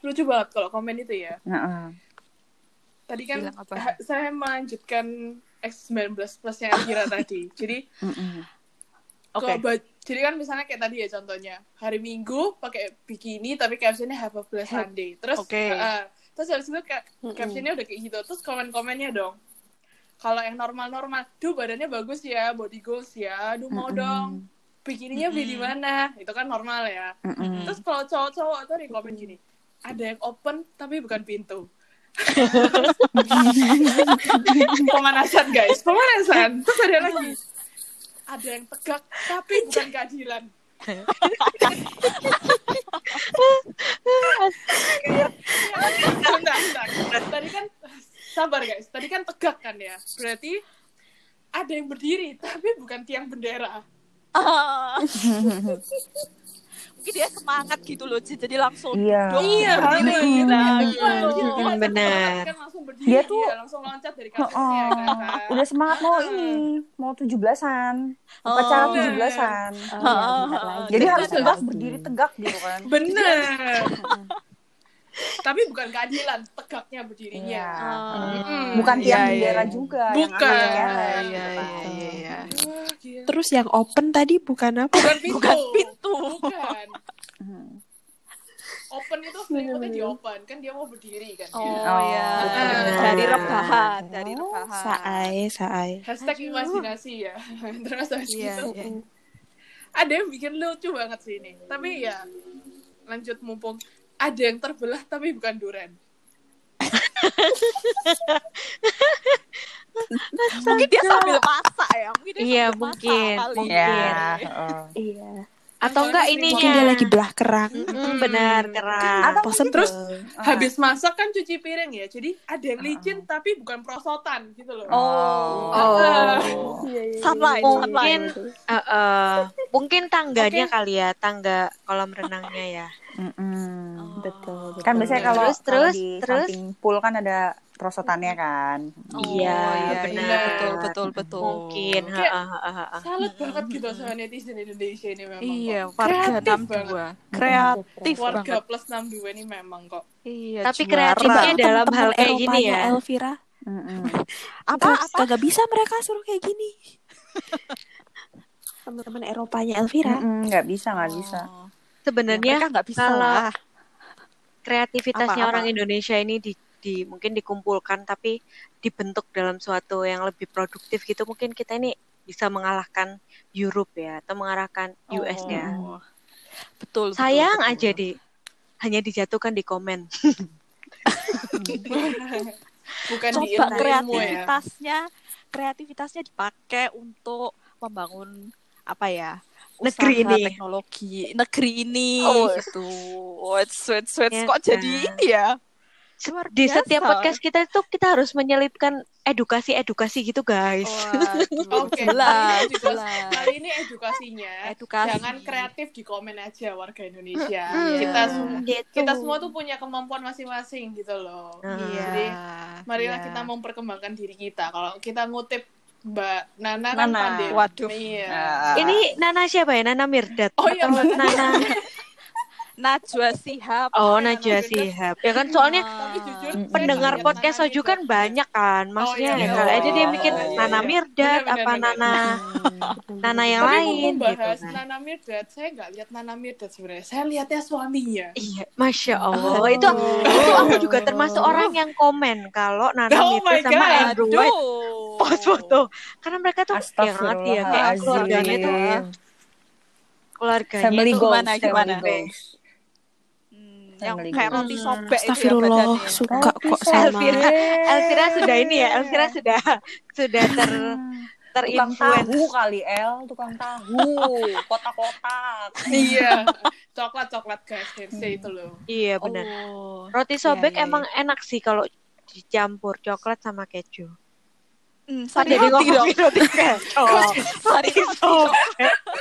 Speaker 4: lucu banget kalau komen itu ya
Speaker 2: Heeh.
Speaker 4: tadi kan
Speaker 7: Bilang apa?
Speaker 4: eh, saya melanjutkan X19 plusnya Akira tadi jadi
Speaker 2: Mm-mm.
Speaker 4: Oke.
Speaker 7: Oke.
Speaker 4: Jadi kan misalnya kayak tadi ya contohnya hari Minggu pakai bikini tapi captionnya Have a Blessed Sunday. Terus
Speaker 7: Oke.
Speaker 4: eh, terus habis itu kayak captionnya udah kayak gitu. Terus komen-komennya dong. Kalau yang normal-normal, duh badannya bagus ya, body goals ya, duh mau
Speaker 2: Mm-mm.
Speaker 4: dong. Bikininya beli di mana? Itu kan normal ya.
Speaker 2: Mm-mm.
Speaker 4: Terus kalau cowok-cowok tuh ada yang komen gini, ada yang open tapi bukan pintu. pemanasan guys, pemanasan. Terus ada lagi, ada yang tegak tapi bukan keadilan. Bentar, bentar. Tadi kan sabar guys, tadi kan tegak kan ya. Berarti ada yang berdiri tapi bukan tiang bendera.
Speaker 7: Ah. Mungkin dia semangat gitu loh, Ci. jadi langsung
Speaker 2: Iya.
Speaker 7: dong,
Speaker 4: Iya,
Speaker 7: gini,
Speaker 4: bener.
Speaker 7: gila, gitu.
Speaker 1: Hmm, benar.
Speaker 4: Kan langsung berdiri,
Speaker 2: Dia tuh-
Speaker 4: ya, langsung loncat dari
Speaker 7: Iya,
Speaker 2: Oh,
Speaker 4: kasurnya. kan, kan.
Speaker 2: udah semangat mau ini, mau 17-an, upacara
Speaker 7: Oh.
Speaker 2: 17-an.
Speaker 3: Oh,
Speaker 7: Heeh,
Speaker 3: iya, bentar
Speaker 7: heeh.
Speaker 3: lagi.
Speaker 2: Jadi
Speaker 7: Jadi
Speaker 2: harus
Speaker 7: ada
Speaker 2: tegak, berdiri tegak gitu kan.
Speaker 4: Bener. Tapi bukan keadilan, tegaknya berdirinya.
Speaker 2: Iya.
Speaker 7: Ah.
Speaker 4: Mm.
Speaker 2: Bukan
Speaker 7: Iya,
Speaker 2: tiang
Speaker 7: iya,
Speaker 2: bendera
Speaker 7: iya.
Speaker 2: juga. ya.
Speaker 4: Bukan.
Speaker 7: Iya,
Speaker 2: gitu
Speaker 7: iya,
Speaker 2: kan.
Speaker 7: iya, iya.
Speaker 4: Wah, gila.
Speaker 3: Terus yang open tadi bukan apa?
Speaker 4: Bukan pintu.
Speaker 7: Bukan pintu.
Speaker 2: Oh,
Speaker 4: Bukan. Open itu selimutnya di open. Kan dia mau berdiri kan.
Speaker 7: Oh,
Speaker 4: dia.
Speaker 7: ya,
Speaker 4: betul.
Speaker 7: dari rebahan, dari rebahan.
Speaker 3: Saai, saai.
Speaker 4: Hashtag imajinasi ya. Terus habis
Speaker 7: Iya,
Speaker 4: gitu.
Speaker 7: iya.
Speaker 4: Ada yang bikin lucu banget sih ini. Tapi ya lanjut mumpung. Ada yang terbelah tapi bukan duren.
Speaker 7: Mungkin dia sambil masak ya. Mungkin dia
Speaker 1: Iya,
Speaker 7: sambil masak
Speaker 1: mungkin,
Speaker 7: kali.
Speaker 1: mungkin.
Speaker 2: Iya.
Speaker 7: Ya.
Speaker 3: Iya.
Speaker 1: atau enggak
Speaker 3: Mungkin dia
Speaker 1: ininya
Speaker 3: lagi belah kerang.
Speaker 1: Hmm, benar kerang
Speaker 2: Atau
Speaker 3: Posem
Speaker 2: mungkin
Speaker 4: Terus
Speaker 2: Ah.
Speaker 4: habis masak kan cuci piring ya. Jadi ada yang licin tapi bukan prosotan gitu loh.
Speaker 7: Ah.
Speaker 4: Ah,
Speaker 1: Oh.
Speaker 7: Oh.
Speaker 2: Iya.
Speaker 7: Sunlight, sunlight.
Speaker 1: mungkin eh, eh, mungkin tangganya
Speaker 4: Oke.
Speaker 1: kali ya tangga kolam renangnya ya
Speaker 2: Mm-mm.
Speaker 3: Betul, betul.
Speaker 2: Kan biasanya kalau
Speaker 1: Terus,
Speaker 2: kalau
Speaker 1: terus,
Speaker 2: di
Speaker 1: terus.
Speaker 2: samping pool kan ada prosotannya kan.
Speaker 7: Oh,
Speaker 1: Iya, benar.
Speaker 7: betul, betul, betul. Iya,
Speaker 1: mungkin ha,
Speaker 4: Kayak-
Speaker 1: ha, ha, ha, ha.
Speaker 4: Salut banget gitu sama netizen Indonesia ini memang. kok.
Speaker 7: Iya, warga
Speaker 4: Kreatif
Speaker 7: 62. Kreatif
Speaker 4: Warga
Speaker 7: banget.
Speaker 4: plus 62 ini memang kok.
Speaker 7: Iya,
Speaker 1: tapi
Speaker 7: juara.
Speaker 1: kreatifnya dalam hal kayak gini
Speaker 3: Eropanya
Speaker 1: ya
Speaker 3: Elvira.
Speaker 2: Mm-mm.
Speaker 7: apa
Speaker 3: Terus
Speaker 7: apa?
Speaker 3: kagak bisa mereka suruh kayak gini. Teman-teman Eropanya Elvira.
Speaker 7: Hmm.
Speaker 2: Mm-mm, Nggak bisa, nggak bisa.
Speaker 7: Oh.
Speaker 1: sebenarnya
Speaker 7: mereka nggak bisa
Speaker 1: kalau-
Speaker 7: lah.
Speaker 1: kreativitasnya
Speaker 7: Apa,
Speaker 1: orang
Speaker 7: apa?
Speaker 1: Indonesia ini di, di mungkin dikumpulkan tapi dibentuk dalam suatu yang lebih produktif gitu mungkin kita ini bisa mengalahkan Europe ya atau mengarahkan US
Speaker 2: Iya.
Speaker 1: ya
Speaker 7: Oh. Betul. betul,
Speaker 1: sayang
Speaker 7: betul.
Speaker 1: aja di hanya dijatuhkan di komen
Speaker 4: Bukan di
Speaker 7: Coba
Speaker 4: ilmu, ilmu ya.
Speaker 7: kreativitasnya, kreativitasnya dipakai untuk membangun apa ya?
Speaker 1: Negeri
Speaker 7: usaha,
Speaker 1: ini.
Speaker 7: teknologi negeri ini
Speaker 1: Oh.
Speaker 7: gitu. Wait, wait, wait.
Speaker 1: Ya
Speaker 7: Kok jadi
Speaker 1: kan.
Speaker 7: ini ya? Luar
Speaker 1: di
Speaker 7: biasa.
Speaker 1: setiap podcast kita itu kita harus menyelipkan edukasi edukasi gitu guys
Speaker 7: Waduh,
Speaker 4: Oke.
Speaker 7: jelas,
Speaker 4: Ini juga-
Speaker 7: jelas.
Speaker 4: Kali ini edukasinya.
Speaker 7: Edukasi.
Speaker 4: Jangan kreatif di komen aja warga Indonesia.
Speaker 7: Mm-mm.
Speaker 4: Kita
Speaker 7: Iya.
Speaker 4: semua
Speaker 1: Gitu.
Speaker 4: kita semua tuh punya kemampuan masing-masing gitu loh.
Speaker 7: Iya.
Speaker 4: Jadi, Marilah
Speaker 7: iya.
Speaker 4: kita memperkembangkan diri kita. Kalau kita ngutip Mbak Nana kan
Speaker 2: Nana.
Speaker 4: pandai.
Speaker 7: Waduh.
Speaker 4: Iya.
Speaker 2: Ah.
Speaker 1: ini Nana siapa ya Nana Mirdad
Speaker 4: Oh iya,
Speaker 1: atau
Speaker 4: Mbak.
Speaker 1: Nana
Speaker 7: Najwa Sihab.
Speaker 1: Oh,
Speaker 7: Ya,
Speaker 1: Najwa
Speaker 7: Lord goodness.
Speaker 1: Sihab. Ya kan soalnya
Speaker 7: Ah.
Speaker 4: Tapi jujur,
Speaker 2: Mm-mm.
Speaker 4: saya
Speaker 1: pendengar
Speaker 4: kaget
Speaker 1: podcast
Speaker 4: banget
Speaker 1: Soju
Speaker 4: itu.
Speaker 1: kan banyak kan. Maksudnya
Speaker 4: iya, Oh, iya,
Speaker 1: kalau
Speaker 2: iya.
Speaker 1: aja dia mikir
Speaker 2: Oh, iya,
Speaker 1: Nana
Speaker 4: iya.
Speaker 1: Mirdad
Speaker 4: Benar, benar,
Speaker 1: apa
Speaker 4: benar.
Speaker 1: Nana
Speaker 3: Nah,
Speaker 1: Nana yang
Speaker 4: Tapi
Speaker 1: lain
Speaker 4: mumpung
Speaker 1: gitu
Speaker 4: bahas
Speaker 1: kan.
Speaker 4: Nana Mirdad, saya nggak lihat Nana Mirdad sebenarnya. Saya lihatnya suaminya.
Speaker 1: Iya, masya Allah. Itu, itu aku juga termasuk orang yang komen kalau Nana
Speaker 4: Oh
Speaker 1: Mirdad
Speaker 4: my
Speaker 1: sama
Speaker 4: God.
Speaker 1: Andrew White
Speaker 7: Nah, Aduh.
Speaker 1: post foto. Karena mereka tuh yang ngerti ya kayak keluarganya itu
Speaker 2: Astagfirullahaladzim.
Speaker 4: Iya.
Speaker 1: keluarganya
Speaker 2: ya. Family
Speaker 1: itu
Speaker 2: goals.
Speaker 7: gimana, gimana?
Speaker 2: family goals.
Speaker 7: Hmm, yang
Speaker 2: Family
Speaker 7: kayak roti
Speaker 1: goals.
Speaker 7: sobek itu ya
Speaker 3: Astagfirullah,
Speaker 7: badannya.
Speaker 3: suka
Speaker 2: Tapi
Speaker 3: kok
Speaker 2: saya-
Speaker 3: sama.
Speaker 1: Elvira, Elvira sudah ini ya, Elvira sudah sudah ter
Speaker 2: Tukang
Speaker 1: terinfluence.
Speaker 2: tahu kali El, tukang tahu, kotak-kotak.
Speaker 4: Iya, coklat coklat guys, Hershey itu loh.
Speaker 1: Iya benar.
Speaker 7: Oh.
Speaker 1: Roti sobek
Speaker 7: iya,
Speaker 1: emang enak sih kalau dicampur coklat sama keju.
Speaker 7: Hmm,
Speaker 1: Kok
Speaker 7: sari roti dong.
Speaker 1: roti
Speaker 7: Oh.
Speaker 1: keju.
Speaker 7: Sari roti.
Speaker 1: sobek.